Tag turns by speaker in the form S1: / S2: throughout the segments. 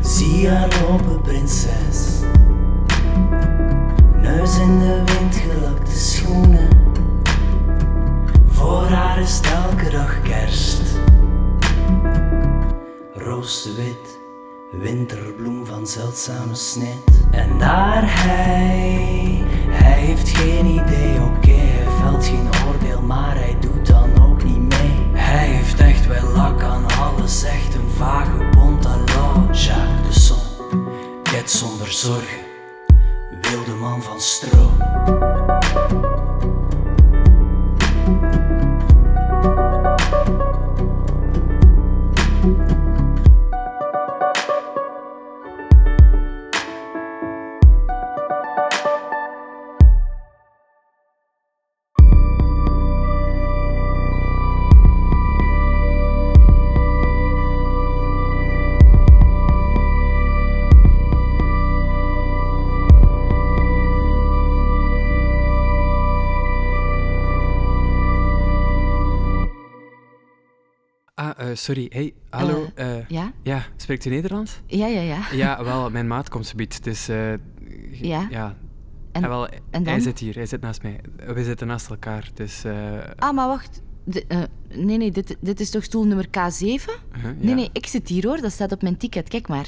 S1: Zie haar lopen, prinses. Neus in de wind, gelakte schoenen. Voor haar is het elke dag kerst. Rooswit, winterbloem van zeldzame snit. En daar hij, hij heeft geen idee, oké, hij velt geen oordeel, maar hij doet dan ook niet mee. Hij heeft echt wel lak aan alles, echt een vagebond à la Jacques de Son. Ket zonder zorgen, wilde man van stro.
S2: Ah, eh, sorry. Hey, hallo. eh,
S3: Ja?
S2: ja, spreekt u Nederlands?
S3: Ja, ja, ja.
S2: Ja, wel, mijn maat komt zoiets. Dus, eh, ge-
S3: Ja?
S2: Ja.
S3: En-
S2: Ah, wel,
S3: en
S2: Hij
S3: dan?
S2: zit hier, hij zit naast mij. We zitten naast elkaar, dus... eh,
S3: Ah, maar wacht. De- eh, nee, nee, dit, dit is toch stoel nummer K7?
S2: huh, ja.
S3: Nee, nee, ik zit hier hoor. Dat staat op mijn ticket. Kijk maar.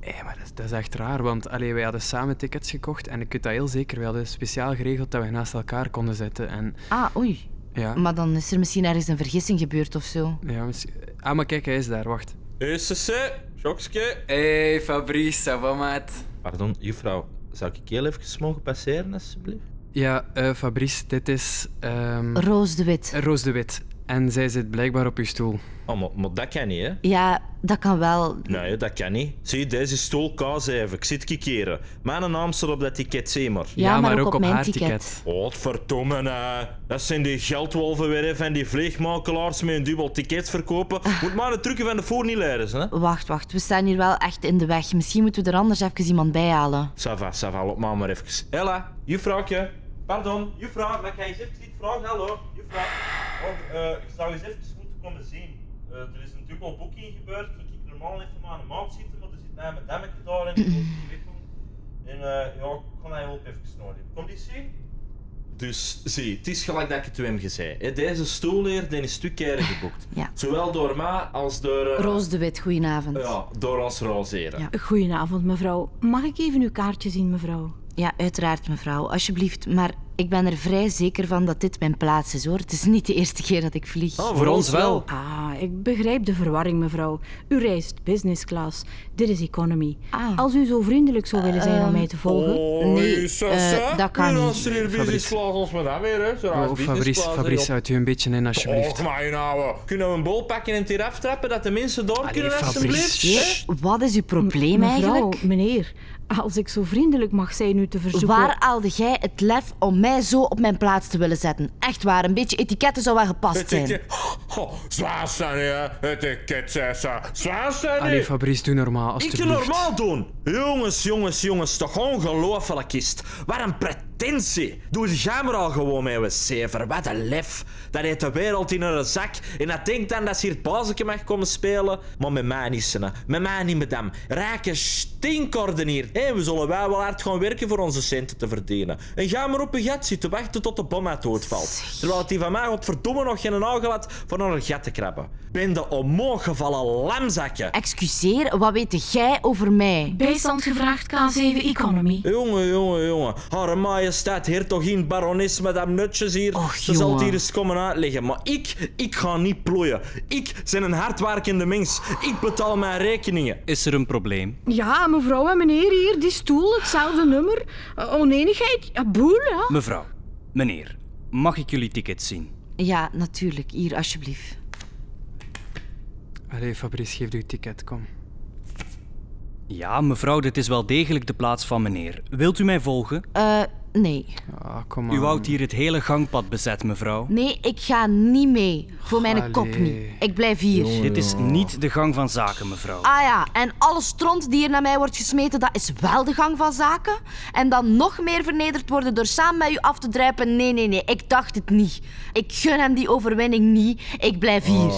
S2: Hé, Eh, maar dat is, dat is echt raar, want allee, wij hadden samen tickets gekocht en ik weet dat heel zeker. We hadden speciaal geregeld dat we naast elkaar konden zitten en...
S3: Ah, oei.
S2: Ja,
S3: Maar dan is er misschien ergens een vergissing gebeurd of zo.
S2: ja misschien... Ah, maar kijk, hij is daar, wacht.
S4: Hey, CC, Jokske.
S2: Hey, Fabrice, ça va, maat?
S5: Pardon, juffrouw, zou ik heel even mogen passeren, alsjeblieft?
S2: Ja, eh, Fabrice, dit is... ehm,
S3: Roos de Wit.
S2: Roos de Wit. En zij zit blijkbaar op uw stoel.
S5: Oh, maar, maar dat kan niet, hè?
S3: Ja, dat kan wel.
S5: Nee, dat kan niet. Zie, deze stoel kaas even. Ik zit kikeren. Mijn naam staat op dat ticket, zie maar.
S3: Ja, maar, ook, op, mijn ticket.
S5: Godverdomme, hè. dat zijn die geldwolven weer hè, van die vleegmakelaars met een dubbel tickets verkopen. Moet maar de trucken van de voornieleiders, hè?
S3: Wacht, wacht. We staan hier wel echt in de weg. Misschien moeten we er anders even iemand bij halen.
S5: Sava, Sava, op maar maar even. Ella, juffrouwje. Pardon, juffrouw, maar ik ga eens even iets vragen? Hallo, juffrouw. Want, eh, ik zou eens even moeten komen zien. Eh, er is een dubbel boeking gebeurd. Ik ik normaal even maar een maand zitten, maar er zit mij mijn demmetje daar en ik wil die wegkomen. En eh, ja, ik kon hij hulp even nodig hebben. Kom die zien? Dus zie, het is gelijk dat ik het u hem gezegd heb. Deze stoel hier die is stuk keer geboekt.
S3: Ja.
S5: Zowel door mij als door, eh,
S3: Roos de Wit, goedenavond.
S5: ja, door ons rozeren.
S3: Ja.
S6: Goedenavond, mevrouw. Mag ik even uw kaartje zien, mevrouw?
S3: Ja, uiteraard, mevrouw. Alsjeblieft. Maar ik ben er vrij zeker van dat dit mijn plaats is, hoor. Het is niet de eerste keer dat ik vlieg.
S5: Oh,
S2: Oh, Voor ons wel.
S6: Ah, ik begrijp de verwarring, mevrouw. U reist business class. Dit is economy.
S3: Ah.
S6: Als u zo vriendelijk zou willen zijn om mij te volgen.
S5: Oh.
S3: Nee, eh, dat kan niet.
S4: Hier business class ons maar dan weer, hè. Zo,
S2: Oh, Fabrice, Fabrice, houdt u een beetje in, alsjeblieft.
S5: Oh,
S4: Och, maar nou.
S5: Kunnen we een bol pakken en het hier aftrappen dat de mensen door
S2: Allee,
S5: kunnen,
S2: Fabrice.
S5: alsjeblieft?
S3: Hé, Wat is uw probleem
S6: mevrouw,
S3: eigenlijk?
S6: meneer, als ik zo vriendelijk mag zijn u te verzoeken...
S3: Waar haalde jij het lef om mij zo op mijn plaats te willen zetten? Echt waar, een beetje etiketten zou wel gepast zijn.
S4: Oh, zwaar staan hier, het is kitsessen. Zwaar staan
S2: Allee,
S4: hier.
S2: Fabrice, doe normaal,
S5: Ik
S2: alsjeblieft.
S5: kan normaal doen. Jongens, jongens, jongens, toch ongelooflijk is het. Wat een pretentie. Doe het jammer al gewoon mee, we zever. Wat een lef. Dat heeft de wereld in haar zak. En dat denkt dan dat ze hier het bazeke mag komen spelen. Maar met mij niet, Senne. Met mij niet, madame. Rijke stinkorden hier. Hé, we zullen wel wel hard gaan werken voor onze centen te verdienen. En ga maar op een gat zitten wachten tot de bom uit het hoofd valt. Terwijl het die van mij godverdomme nog geen nagel had van naar een gat te krabben. Ben de omhoog gevallen lamzakken.
S3: Excuseer, wat weet jij over mij?
S7: Bijstand gevraagd K7 Economy.
S5: Jongen, jongen, jongen. Haar majesteit, hertogin, barones, madame Nutjes hier.
S3: Och,
S5: ze zal het
S3: jongen.
S5: hier eens komen uitleggen. Maar ik, ik ga niet plooien. Ik ben een hardwerkende mens. Ik betaal mijn rekeningen.
S8: Is er een probleem?
S6: Ja, mevrouw en meneer, hier, die stoel, hetzelfde nummer. Eh, oneenigheid, ja, boel, ja.
S8: Mevrouw, meneer, mag ik jullie tickets zien?
S3: Ja, natuurlijk. Hier, alsjeblieft.
S2: Allee, Fabrice, geef uw ticket, kom.
S8: Ja, mevrouw, dit is wel degelijk de plaats van meneer. Wilt u mij volgen?
S3: Eh, Nee.
S2: Ah, kom aan.
S8: U houdt hier het hele gangpad bezet, mevrouw.
S3: Nee, ik ga niet mee. Voor mijn
S2: Allee.
S3: kop niet. Ik blijf hier.
S8: Dit is niet de gang van zaken, mevrouw.
S3: Ah ja, en alle stront die hier naar mij wordt gesmeten, dat is wel de gang van zaken. En dan nog meer vernederd worden door samen met u af te druipen. Nee, nee, nee, ik dacht het niet. Ik gun hem die overwinning niet. Ik blijf hier.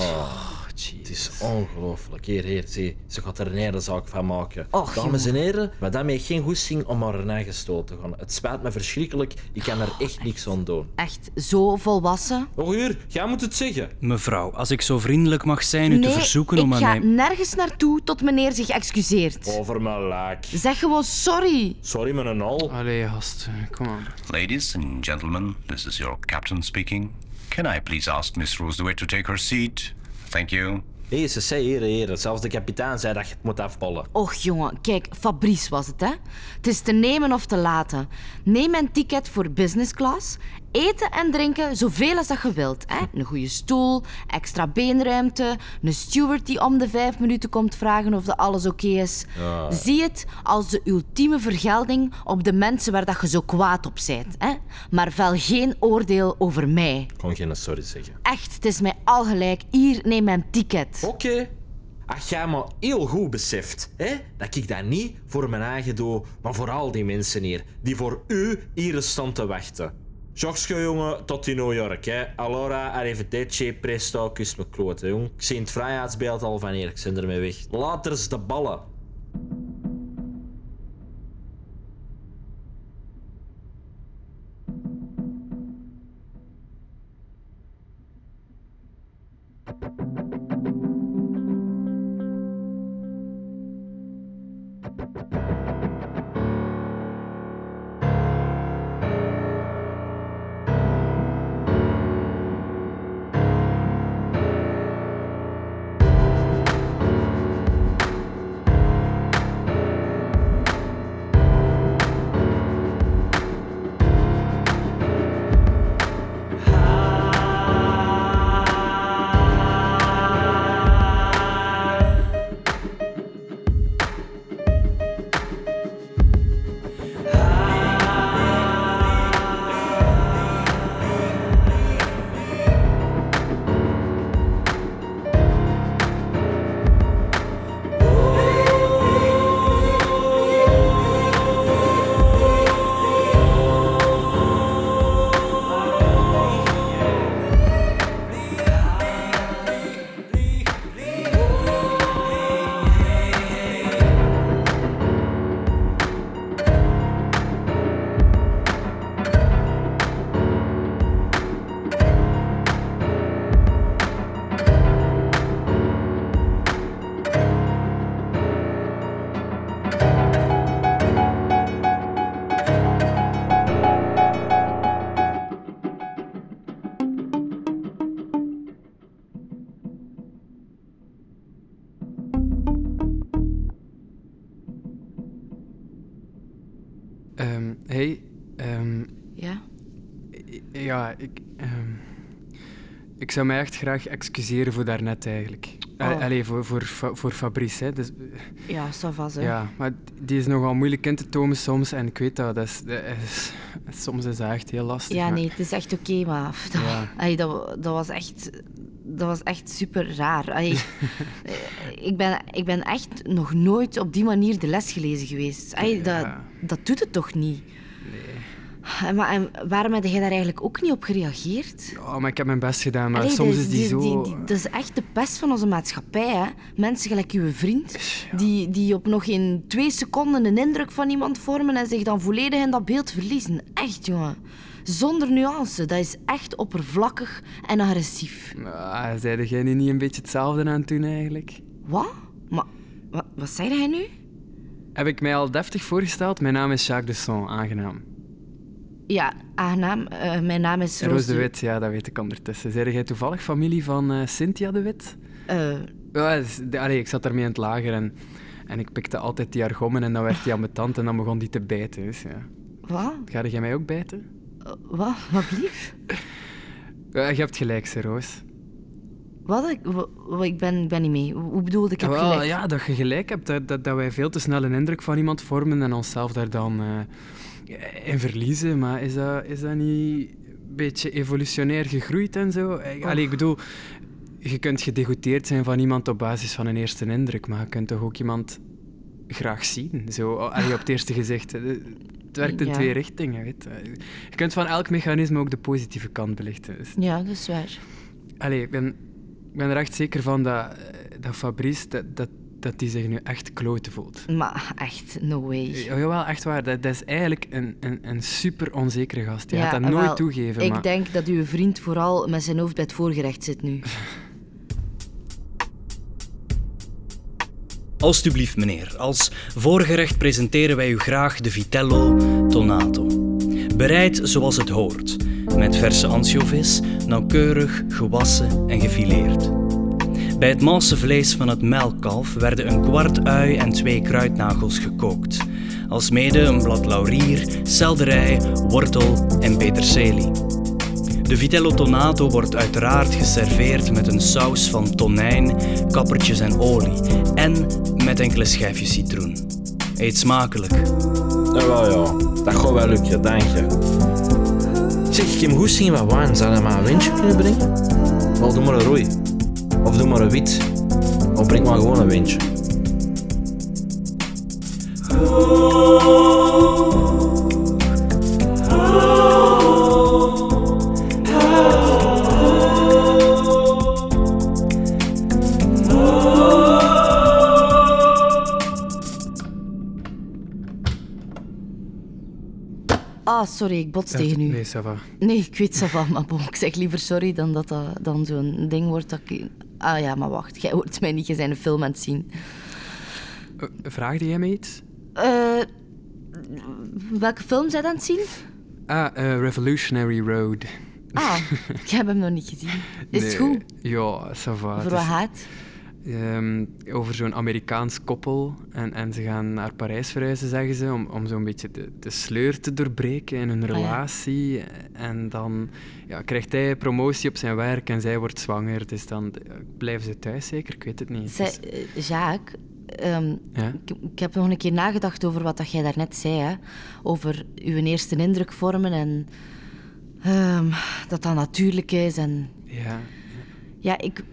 S5: Het is ongelooflijk. Hier, hier, zie. Ze gaat er een hele zaak van maken.
S3: Och,
S5: Dames en heren, madame heeft geen goesting om haar eigen stoel te gaan. Het spijt me verschrikkelijk. Ik kan
S3: Oh,
S5: er echt niks aan doen.
S3: Echt zo volwassen.
S5: Och, hier, jij moet het zeggen.
S8: Mevrouw, als ik zo vriendelijk mag zijn u
S3: nee,
S8: te verzoeken om
S3: ik
S8: aan
S3: ga
S8: mij...
S3: nergens naartoe tot meneer zich excuseert.
S5: Over mijn laak.
S3: Zeg gewoon sorry.
S5: Sorry, mijn al.
S3: Ah.
S2: Allee, gast. Kom aan.
S9: Ladies and gentlemen, this is your captain speaking. Can I please ask Miss Rosedew to take her seat? Thank you.
S5: Hé, ze zei hier, hier. Zelfs de kapitein zei dat je het moet afballen.
S3: Och jongen, kijk, Fabrice was het hè. Het is te nemen of te laten. Neem een ticket voor business class. Eten en drinken zoveel als dat je wilt. Hè? Een goede stoel, extra beenruimte, een steward die om de vijf minuten komt vragen of dat alles oké is. Zie het als de ultieme vergelding op de mensen waar dat je zo kwaad op bent. Hè? Maar vel geen oordeel over mij.
S5: Ik kon geen sorry zeggen.
S3: Echt, het is mij al gelijk. Hier, neem mijn ticket.
S5: Oké. Als jij maar heel goed beseft hè, dat ik dat niet voor mijn eigen doe, maar voor al die mensen hier die voor u hier staan te wachten. Jokske, jongen, tot in New York. Hè. Allora, arrivederci, presto, kus me kloten, jong. Ik zie het vrijheidsbeeld al van hier, ik ben ermee weg. Laters de ballen.
S2: Ehm, hey. ehm,
S3: Ja?
S2: i- ja, ik... ehm, ik zou mij echt graag excuseren voor daarnet, eigenlijk. Eh,
S3: Oh.
S2: Allee, voor, voor, Fa- voor Fabrice, hè. Dus, eh,
S3: Ja, ça va, zo.
S2: ja, maar die is nogal moeilijk in te tomen soms. En ik weet dat, dat is, dat is- soms is dat echt heel lastig.
S3: Ja,
S2: maar-
S3: nee, het is echt oké, maar pff, dat,
S2: Ja.
S3: Ai, dat, dat was echt... Dat was echt super raar. Ai, eh, ik, ben, ik ben echt nog nooit op die manier de les gelezen geweest. Ai, dat,
S2: Ja.
S3: dat doet het toch niet? En, maar, en waarom heb jij daar eigenlijk ook niet op gereageerd?
S2: Oh, maar ik heb mijn best gedaan, maar
S3: Allee,
S2: soms
S3: dat
S2: is die, zo...
S3: die- dat is echt de pest van onze maatschappij. Hè? Mensen gelijk uw vriend, die, die op nog geen twee seconden een indruk van iemand vormen en zich dan volledig in dat beeld verliezen. Echt, jongen. Zonder nuance. Dat is echt oppervlakkig en agressief.
S2: Ah, zeiden jij nu niet een beetje hetzelfde aan toen eigenlijk?
S3: Wat? Maar, wat, wat zei hij nu?
S2: Heb ik mij al deftig voorgesteld? Mijn naam is Jacques Desson, aangenaam.
S3: Ja, aangenaam. Eh, mijn naam is Roos,
S2: Roos de Wit, ja, dat weet ik ondertussen. Zeiden jij toevallig familie van eh, Cynthia de Wit?
S3: Eh,
S2: Ja, dat is- de- allee, ik zat daarmee in het lager en, en ik pikte altijd die argommen en dan werd die ambetant en dan begon die te bijten. Dus, ja.
S3: wat?
S2: Ga jij mij ook bijten?
S3: Wat? Wat blieft?
S2: Ja, je hebt gelijk, ze, Roos.
S3: Wat? Ik, wa- wa- ik ben, ik ben niet mee. Hoe bedoel ik heb
S2: Wel,
S3: gelijk?
S2: Ja, dat je gelijk hebt. Dat, dat, dat wij veel te snel een indruk van iemand vormen en onszelf daar dan eh, En verliezen, maar is dat, is dat niet een beetje evolutionair gegroeid en zo?
S3: Oh.
S2: Eh, Allee, ik bedoel, je kunt gedegouteerd zijn van iemand op basis van een eerste indruk, maar je kunt toch ook iemand graag zien? Zo, Oh, allee, op het eerste gezicht. eh, Het werkt in
S3: Ja.
S2: twee richtingen, weet je. Je kunt van elk mechanisme ook de positieve kant belichten. Dus
S3: Ja, dat is waar.
S2: Allee, ik ben, ik ben er echt zeker van dat, eh, dat Fabrice dat, dat, dat die zich nu echt kloten voelt.
S3: Maar echt, no way.
S2: Ja, jawel, echt waar. Dat, dat is eigenlijk een, een, een super onzekere gast. Die
S3: Ja,
S2: gaat dat nooit
S3: wel,
S2: toegeven.
S3: Ik
S2: maar...
S3: denk dat uw vriend vooral met zijn hoofd bij het voorgerecht zit nu.
S8: Alsjeblieft, meneer. Als voorgerecht presenteren wij u graag de Vitello Tonato. Bereid zoals het hoort, met verse ansjovis, nauwkeurig gewassen en gefileerd. Bij het malse vlees van het melkkalf werden een kwart ui en twee kruidnagels gekookt, alsmede een blad laurier, selderij, wortel en peterselie. De vitello tonato wordt uiteraard geserveerd met een saus van tonijn, kappertjes en olie en met enkele schijfjes citroen. Eet smakelijk.
S5: Jawel, ja. Dat gaat wel lukken, dank je. Zeg, Kim Goesting, wat wijn. Zou je maar een windje kunnen brengen? Wel, doe maar een roei. Of doe maar een wit. Of breng maar gewoon een windje.
S3: Ah, sorry, ik bots tegen u.
S2: Nee, ça va.
S3: Nee, ik weet ça van, maar bon, ik zeg liever sorry dan dat dat dan zo'n ding wordt dat ik... Ah ja, maar wacht, jij hoort mij niet, je bent een film aan het zien.
S2: Eh, Vraagde jij mij iets?
S3: Eh, welke film zijn aan het zien?
S2: Ah, eh, Revolutionary Road.
S3: Ah, ik heb hem nog niet gezien. Is
S2: Nee.
S3: het goed?
S2: Ja, ça va.
S3: Voor
S2: Het
S3: wat
S2: is,
S3: gaat het?
S2: ehm, over zo'n Amerikaans koppel. En, en ze gaan naar Parijs verhuizen, zeggen ze. Om, om zo'n beetje de, de sleur te doorbreken in hun
S3: Ah, ja.
S2: relatie. En dan ja, krijgt hij promotie op zijn werk en zij wordt zwanger. Dus dan eh, blijven ze thuis zeker? Ik weet het niet. Het
S3: Zij-
S2: is-
S3: eh, Jacques, ehm,
S2: Ja?
S3: ik, ik heb nog een keer nagedacht over wat dat jij daarnet zei. Hè? Over uw eerste indruk vormen en ehm, dat dat natuurlijk is. En,
S2: Ja.
S3: ja, ik,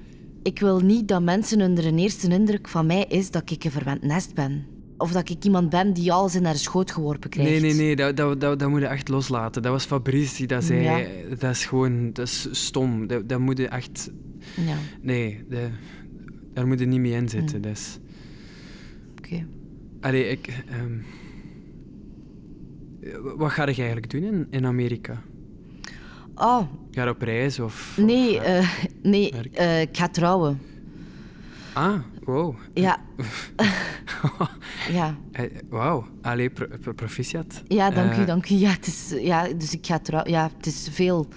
S3: ik wil niet dat mensen onder hun eerste indruk van mij is dat ik een verwend nest ben. Of dat ik iemand ben die alles in haar schoot geworpen krijgt.
S2: Nee, nee, nee, dat, dat, dat, dat moet je echt loslaten. Dat was Fabrice die dat zei.
S3: Ja.
S2: Dat is gewoon dat is stom. Dat, dat moet je echt.
S3: Ja,
S2: Nee, dat- daar moet je niet mee dus- in zitten.
S3: Mm.
S2: Dat is-
S3: oké.
S2: Allee, ik. ehm, eh, Wat ga je eigenlijk doen in, in Amerika?
S3: Oh,
S2: Ga je op reis of. of,
S3: nee,
S2: eh,
S3: eh, nee
S2: werk.
S3: eh, ik ga trouwen. eh,
S2: Ah, wow.
S3: Ja, ja.
S2: Eh, Wauw. Allee, pro- pro- proficiat.
S3: Ja, dank u,
S2: Eh,
S3: dank u. Ja, het is, ja, dus ik ga trouwen. Ja, het is veel.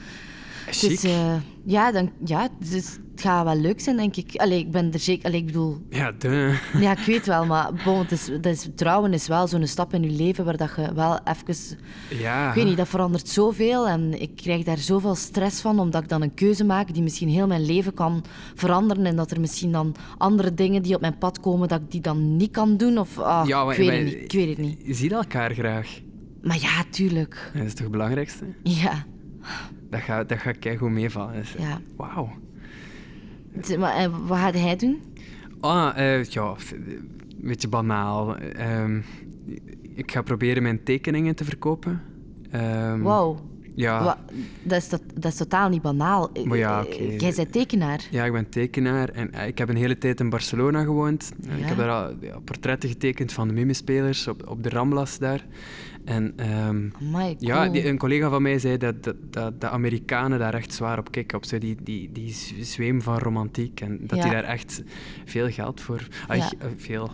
S3: Het
S2: chic.
S3: is, eh, ja, dan, ja dus het gaat wel leuk zijn, denk ik. Allee, ik ben er zeker... Allee, ik bedoel...
S2: Ja, duh.
S3: Ja, ik weet wel, maar bon, het is, het is, trouwen is wel zo'n stap in je leven waar dat je wel even...
S2: Ja.
S3: Ik weet niet, dat verandert zoveel en ik krijg daar zoveel stress van, omdat ik dan een keuze maak die misschien heel mijn leven kan veranderen en dat er misschien dan andere dingen die op mijn pad komen, dat ik die dan niet kan doen. Of, ah,
S2: Ja, maar-
S3: ik, weet
S2: maar-
S3: het niet, ik weet het niet.
S2: Je ziet elkaar graag.
S3: Maar ja, tuurlijk.
S2: Dat is toch het belangrijkste?
S3: Ja.
S2: Dat gaat dat gaat keigoed meevallen. Dus, eh,
S3: Ja.
S2: Wauw.
S3: Zeg Maar, eh, wat gaat hij doen?
S2: Ah, eh, ja, f- een beetje banaal. Ehm, ik ga proberen mijn tekeningen te verkopen. Ehm,
S3: Wow.
S2: Ja,
S3: Wa- dat, is tot- dat is totaal niet banaal. Eh,
S2: Ah. Maar ja,
S3: eh,
S2: oké.
S3: Jij bent tekenaar.
S2: ja, ik ben tekenaar en eh, ik heb een hele tijd in Barcelona gewoond. En Ik
S3: Ja.
S2: heb daar al ja, portretten getekend van de mimispelers op, op de Ramblas daar. En ehm,
S3: Amai, cool.
S2: ja, die, een collega van mij zei dat, dat, dat de Amerikanen daar echt zwaar op kicken. Op zo die, die, die z- zweem van romantiek. En dat
S3: Ja.
S2: die daar echt veel geld voor. Ah,
S3: Ja.
S2: ik- eh, veel.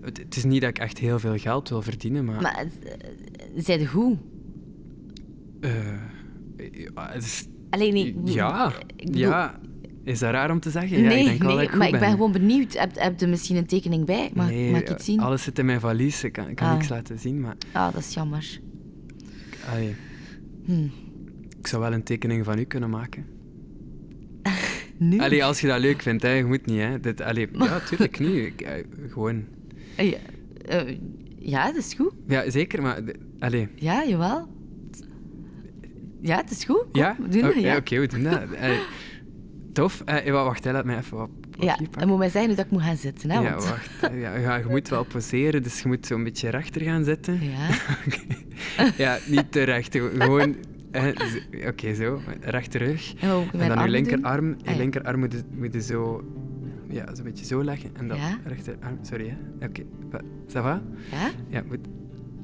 S2: Het, het is niet dat ik echt heel veel geld wil verdienen, maar.
S3: Maar eh, zij de goed?
S2: eh, ja, het is-
S3: Alleen nee.
S2: ja,
S3: ik bedoel-
S2: ja. Is dat raar om te zeggen? ja,
S3: Nee,
S2: ik denk wel
S3: nee,
S2: dat ik goed
S3: maar ik ben
S2: ben
S3: gewoon benieuwd. Heb, heb je misschien een tekening bij? Mag,
S2: Nee,
S3: mag ik iets zien?
S2: Alles zit in mijn valies, ik kan, ik kan
S3: Ah.
S2: niks laten zien, maar...
S3: Ah, dat is jammer. Hmm.
S2: allee. Ik zou wel een tekening van u kunnen maken.
S3: Nu?
S2: Allee, als je dat leuk vindt, hè. Je moet niet, hè. Dit, allee, ja, tuurlijk, nu. Ik, eh, gewoon...
S3: Eh, ja, eh, Ja, dat is goed.
S2: Ja, zeker, maar... d- Allee.
S3: Ja, jawel. Ja, het is goed. Kom,
S2: Ja?
S3: we doen dat,
S2: Oké,
S3: ja.
S2: Oké, we doen dat. Allee. Tof. Eh, wa- wacht, hè, laat mij even wat... wat
S3: Ja,
S2: hier pakken.
S3: en moet mij zeggen hoe dat ik moet gaan zitten. Hè,
S2: Ja,
S3: want-
S2: wacht. hè. Ja, ja, je moet wel poseren, dus je moet zo'n beetje rechter gaan zitten.
S3: Ja.
S2: Oké. Ja, niet te recht. ge- Gewoon... eh, z- Oké, zo. Rechter rug.
S3: En wat moet ik met
S2: En dan
S3: mijn
S2: je
S3: armen
S2: linkerarm.
S3: doen?
S2: Je
S3: Ah, ja.
S2: linkerarm moet je, moet je zo... Ja, zo'n beetje zo leggen. En dan
S3: Ja.
S2: rechterarm... Sorry, hè. Oké. wa- Ça va?
S3: Ja?
S2: Ja, moet...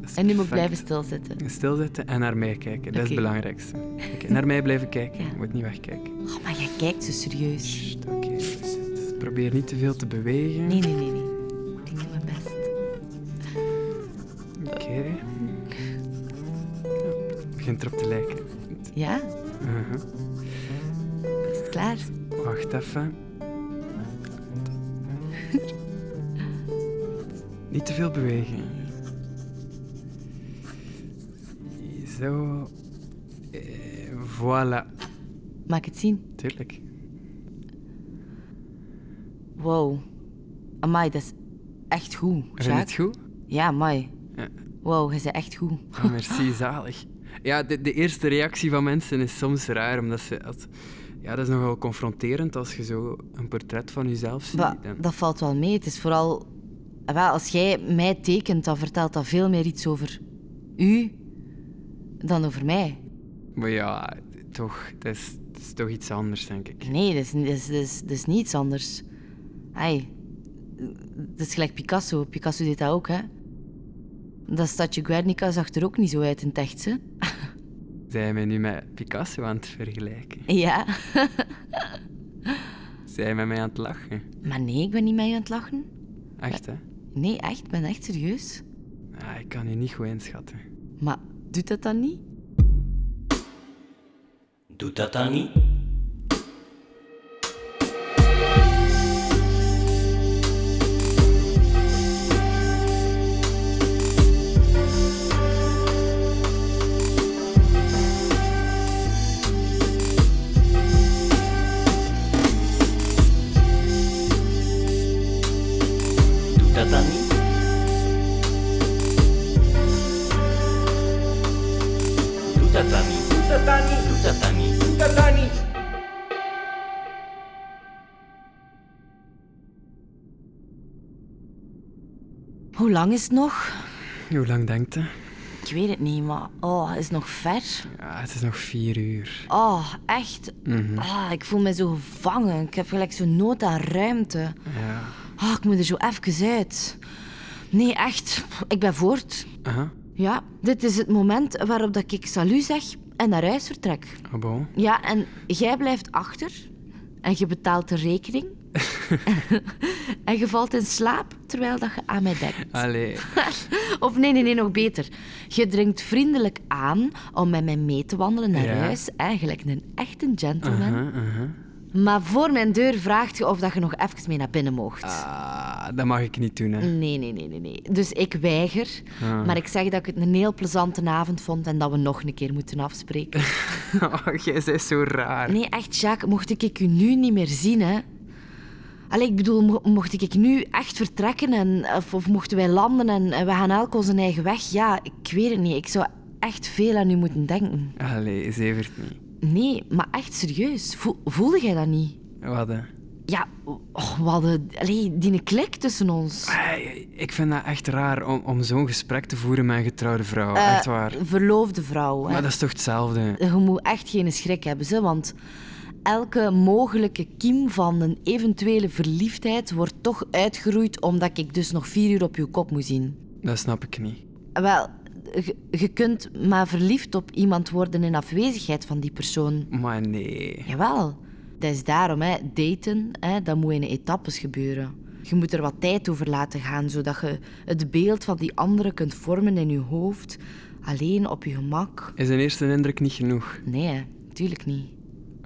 S2: dat is
S3: En nu moet
S2: perfect.
S3: ik blijven stilzitten.
S2: Stilzitten en naar mij kijken. Dat is het
S3: Oké.
S2: belangrijkste. Oké, naar mij blijven kijken.
S3: Ja.
S2: Je moet niet wegkijken.
S3: Oh, maar jij kijkt zo serieus.
S2: Sst, Oké. dus- dus probeer niet te veel te bewegen.
S3: Nee, nee, nee, nee. Ik doe mijn best.
S2: Oké. Het Begint erop te lijken.
S3: Ja?
S2: Mhm.
S3: Is het klaar?
S2: Wacht even. Niet te veel bewegen. Zo. Eh, voilà.
S3: Mag ik het zien?
S2: Tuurlijk.
S3: Wow. Amai, dat is echt goed.
S2: Vind je het
S3: Jacques.
S2: goed?
S3: Ja, amai.
S2: Ja.
S3: Wow, je bent echt goed.
S2: Oh, merci, zalig. Ja, de, de eerste reactie van mensen is soms raar, omdat ze... Als, ja, dat is nogal confronterend als je zo een portret van jezelf ziet.
S3: Maar
S2: En-
S3: dat valt wel mee. Het is vooral... eh, Wel, als jij mij tekent, dan vertelt dat veel meer iets over u dan over mij.
S2: Maar ja, toch, dat is, dat is toch iets anders, denk ik.
S3: Nee, dat is, dat is, dat is, dat is niets anders. Ai, dat is gelijk Picasso. Picasso deed dat ook, hè. Dat stadje Guernica zag er ook niet zo uit in het echt, hè.
S2: Zijn we nu met Picasso aan het vergelijken?
S3: Ja.
S2: Zijn we mij aan het lachen?
S3: Maar nee, ik ben niet met je aan het lachen.
S2: Echt, hè?
S3: Nee, echt. Ik ben echt serieus.
S2: Ah, ik kan je niet goed inschatten.
S3: Maar doet dat dan niet?
S1: Doet dat dan niet? Doet dat dan niet? Doet dat dan niet? Doet dat dan niet? Doet dat dan niet? Doet dat dan niet?
S3: Hoe lang is het nog?
S2: Hoe lang denkt het?
S3: Ik weet het niet, maar... Oh, het is nog ver.
S2: Ja, het is nog vier uur.
S3: Oh, echt.
S2: Mhm.
S3: Ah, ik voel me zo gevangen. Ik heb gelijk zo'n nood aan ruimte.
S2: Ja.
S3: Ah, ik moet er zo even uit. Nee, echt. Ik ben voort.
S2: Aha,
S3: Ja, dit is het moment waarop dat ik salu zeg en naar huis vertrek.
S2: ah bon.
S3: Ja, en jij blijft achter en je betaalt de rekening. en je valt in slaap terwijl dat je aan mij denkt.
S2: Allee.
S3: Of nee, nee, nee, nog beter. Je dringt vriendelijk aan om met mij mee te wandelen naar
S2: Ja.
S3: huis. Eigenlijk een echte gentleman.
S2: Aha, aha.
S3: Maar voor mijn deur vraagt je of dat je nog even mee naar binnen mocht.
S2: Ah, dat mag ik niet doen, hè.
S3: Nee, nee, nee, nee, nee. Dus ik weiger.
S2: Ah.
S3: Maar ik zeg dat ik het een heel plezante avond vond en dat we nog een keer moeten afspreken.
S2: Oh, jij bent zo raar.
S3: Nee, echt, Jacques, mocht ik u nu niet meer zien, hè? Allee, ik bedoel, mo- mocht ik nu echt vertrekken en, of, of mochten wij landen en, en we gaan elk onze eigen weg? Ja, ik weet het niet. Ik zou echt veel aan u moeten denken.
S2: Allee, zevert niet.
S3: Nee, maar echt serieus. Voel, voelde jij dat niet?
S2: Wat, hè?
S3: Ja, oh, we hadden allee, die klik tussen ons.
S2: Ai, ik vind dat echt raar om, om zo'n gesprek te voeren met een getrouwde vrouw.
S3: Eh,
S2: echt waar.
S3: Verloofde vrouw. Hè.
S2: Maar dat is toch hetzelfde?
S3: Je moet echt geen schrik hebben, ze, want elke mogelijke kiem van een eventuele verliefdheid wordt toch uitgeroeid omdat ik dus nog vier uur op je kop moet zien.
S2: Dat snap ik niet.
S3: Wel, je, je kunt maar verliefd op iemand worden in afwezigheid van die persoon.
S2: Maar nee.
S3: Jawel, dat is daarom, hè. daten, hè, dat moet in etappes gebeuren. Je moet er wat tijd over laten gaan, zodat je het beeld van die andere kunt vormen in je hoofd, alleen op je gemak.
S2: Is een eerste indruk niet genoeg?
S3: Nee, hè, tuurlijk niet.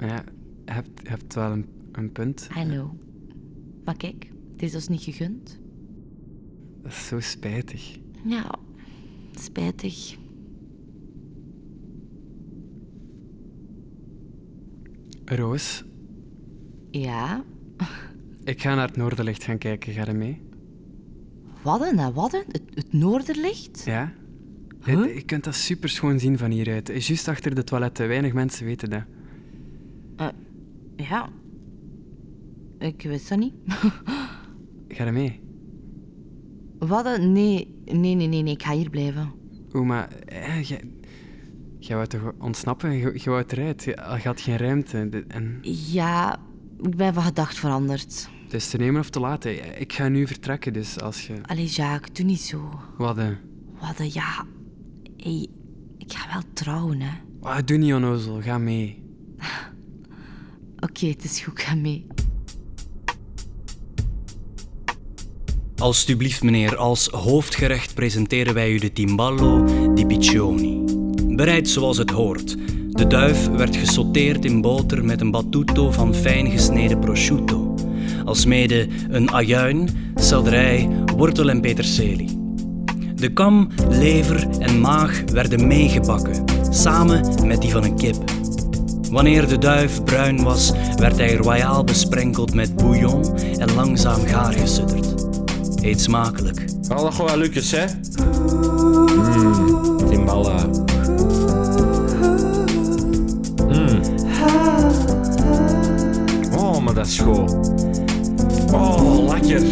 S2: Ja, je hebt, je hebt wel een, een punt.
S3: I know. Maar kijk, het is ons niet gegund.
S2: Dat is zo spijtig.
S3: Ja, Nou, spijtig.
S2: Roos,
S3: Ja?
S2: ik ga naar het Noorderlicht gaan kijken. Ga je mee?
S3: Wadden en Wadden, het, het noorderlicht.
S2: Ja? Je, je kunt dat super schoon zien van hieruit. Eh, Juist achter de toiletten. Weinig mensen weten dat.
S3: Ja. Ik wist dat niet.
S2: Ga er mee.
S3: Wadden, nee, nee, nee, nee, nee, ik ga hier blijven.
S2: Oeh, maar eh, jij jij wou toch ontsnappen? Je, je wou eruit. Je, je had geen ruimte. De- en
S3: Ja, ik ben van gedacht veranderd.
S2: het is te nemen of te laten. Ik ga nu vertrekken, dus als je...
S3: Allee, Jacques, doe niet zo.
S2: Wat, eh?
S3: Wadden, ja. Hey, ik ga wel trouwen, hè.
S2: Ah, doe niet onnozel. Ga mee.
S3: Oké, het is goed, ik ga mee.
S8: Alsjeblieft, meneer, als hoofdgerecht presenteren wij u de timballo di piccioni. Bereid zoals het hoort. De duif werd gesauteerd in boter met een battuto van fijn gesneden prosciutto. Alsmede een ajuin, selderij, wortel en peterselie. De kam, lever en maag werden meegebakken, samen met die van een kip. Wanneer de duif bruin was, werd hij royaal besprenkeld met bouillon en langzaam gaar gesudderd. Eet smakelijk.
S5: Ga dat gewoon wel Lucas, hè? Mm, Timbala. Mm. Oh, maar dat is goed. Oh, lekker.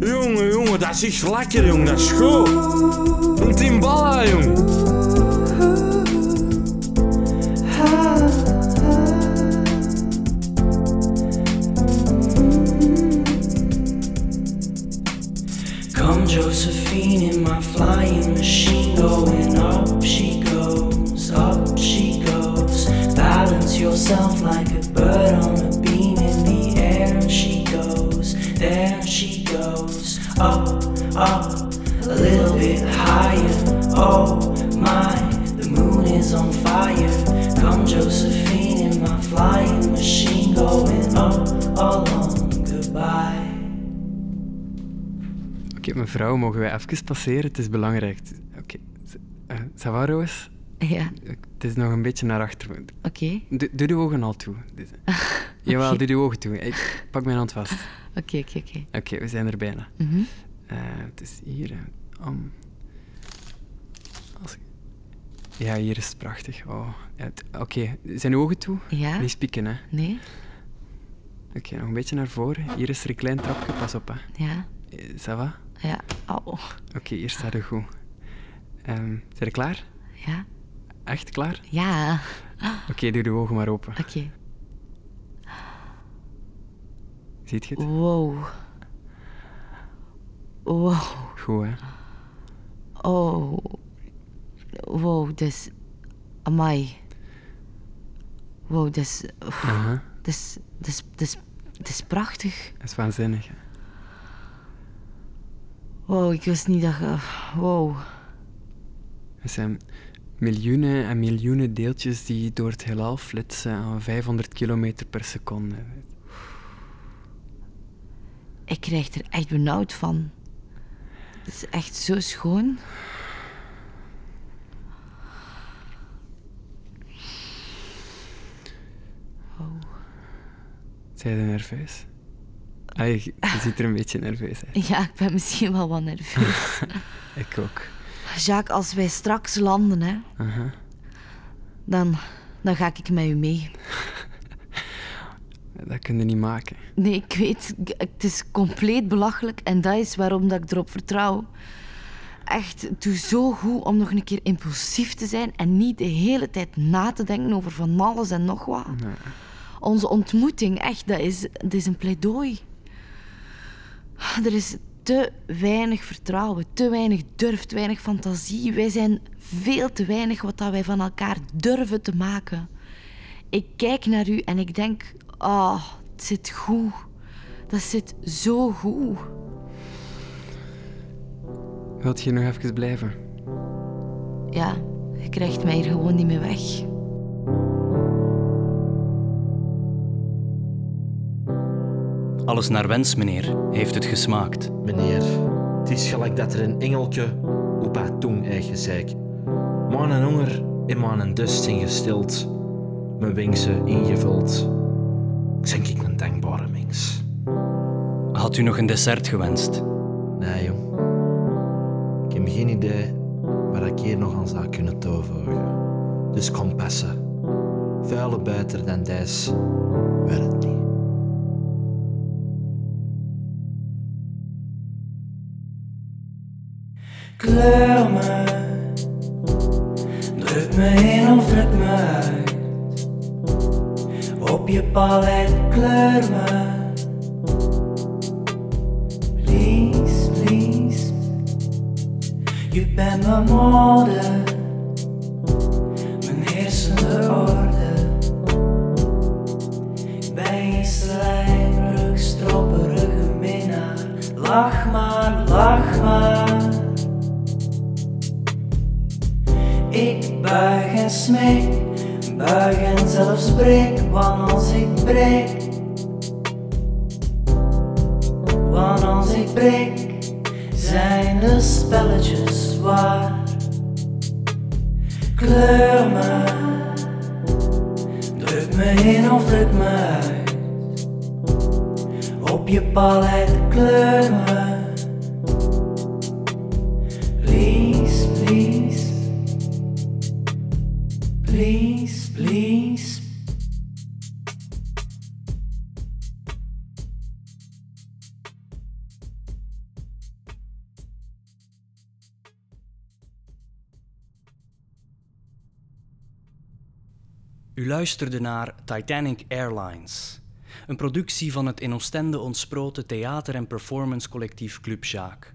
S5: Jongen, jongen, dat is echt lekker, jong. Dat is goed. Een timbala, jong.
S1: Come Josephine in my flying machine, going up she goes, up she goes. Balance yourself like a bird on a beam in the air. She goes, there she goes, up, up, a little bit higher. Oh my, the moon is on fire. Come Josephine in my flying machine, going up, along, goodbye.
S2: Oké, mevrouw, mogen wij even passeren? Het is belangrijk. Oké. Z- eh, ça va, Roos?
S3: Ja,
S2: Het is nog een beetje naar achteren.
S3: oké.
S2: Doe, doe de ogen al toe. Dit- Jawel, doe de ogen toe. Ik pak mijn hand vast.
S3: Oké, oké, oké. Mhm.
S2: Oké, we zijn er bijna. Eh, het is hier. eh, om. Als ik- Ja, hier is het prachtig. Oh. ja, het- Oké, zijn uw ogen toe?
S3: Ja?
S2: Niet spieken, hè?
S3: Nee?
S2: Oké, nog een beetje naar voren. Hier is er een klein trapje, pas op. Hè.
S3: Ja?
S2: Eh, Ça va?
S3: Ja. Oh, Au.
S2: Oké, hier staat er goed. Ehm zijn we klaar?
S3: Ja?
S2: Echt klaar?
S3: Ja.
S2: Oké, doe de ogen maar open.
S3: Oké.
S2: Ziet je het?
S3: Wow. Wow.
S2: Goed, hè?
S3: Oh. Wow, dus... Amai. Wow, dus...
S2: Aha.
S3: Dus... Dus... Dus... is prachtig.
S2: Dat is waanzinnig. hè.
S3: Wow, ik wist niet dat... je- Wow.
S2: Er zijn miljoenen en miljoenen deeltjes die door het heelal flitsen aan 500 kilometer per seconde.
S3: Ik krijg er echt benauwd van. Het is echt zo schoon.
S2: Zijn je nerveus? Ah, je, je ziet er een beetje nerveus uit.
S3: Ja, ik ben misschien wel wat nerveus.
S2: Ik ook.
S3: Jacques, als wij straks landen, hè,
S2: Aha.
S3: dan, dan ga ik met u mee.
S2: Dat kun je niet maken.
S3: Nee, ik weet, ik- het is compleet belachelijk en dat is waarom dat ik erop vertrouw. Echt, het doet zo goed om nog een keer impulsief te zijn en niet de hele tijd na te denken over van alles en nog wat. Onze ontmoeting, echt, dat is, dat is een pleidooi. Er is te weinig vertrouwen, te weinig durf, te weinig fantasie. Wij zijn veel te weinig wat dat wij van elkaar durven te maken. Ik kijk naar u en ik denk, ah, het zit goed. Dat zit zo goed.
S2: Wilt je nog even blijven?
S3: Ja, je krijgt mij hier gewoon niet meer weg.
S8: Alles naar wens, meneer. Heeft het gesmaakt?
S5: Meneer, het is gelijk dat er een engeltje op haar tong heeft gezeik. Mijn honger en mijn dust zijn gestild, mijn wensen ingevuld. Ik ben ik een dankbare mens.
S8: Had u nog een dessert gewenst?
S10: Nee, jong. Ik heb geen idee waar ik hier nog aan zou kunnen toevoegen. Dus kom passen. Vuile buiter dan deze. Wel het niet.
S1: Kleur me, druk me in of druk me uit. Op je palet kleur me. Please, please, je bent mijn moeder, mijn heersende orde. Bij je slijmerig, stroperige minnaar, lach maar, lach maar. Ik buig en smeek, buig en zelfs breek, want als ik breek, want als ik breek, zijn de spelletjes waar. Kleur me, druk me in of druk me uit. Op je palet kleur me. Please, please. Please, please.
S8: U luisterde naar Titanic Airlines, een productie van het in Oostende ontsproten theater- en performancecollectief Club Jaak.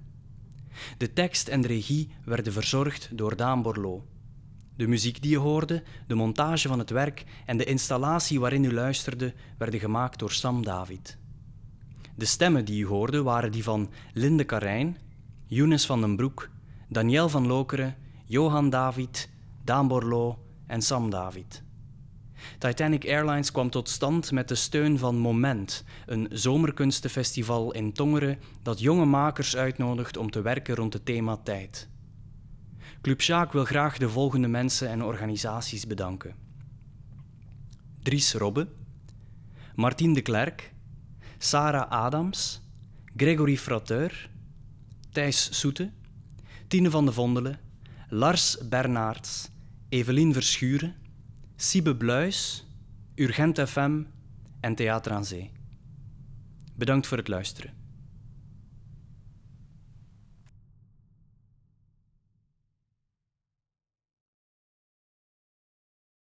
S8: De tekst en de regie werden verzorgd door Daan Borlo. De muziek die je hoorde, de montage van het werk en de installatie waarin u luisterde werden gemaakt door Sam David. De stemmen die u hoorde waren die van Linde Karijn, Younes van den Broek, Daniel van Lokeren, Johan David, Daan Borlo en Sam David. Titanic Airlines kwam tot stand met de steun van Moment, een zomerkunstenfestival in Tongeren dat jonge makers uitnodigt om te werken rond het thema tijd. Club Sjaak wil graag de volgende mensen en organisaties bedanken. Dries Robbe, Martien de Klerk, Sarah Adams, Gregory Frateur, Thijs Soete, Tine van de Vondelen, Lars Bernaerts, Evelien Verschuren, Siebe Bluis, Urgent FM en Theater aan Zee. Bedankt voor het luisteren.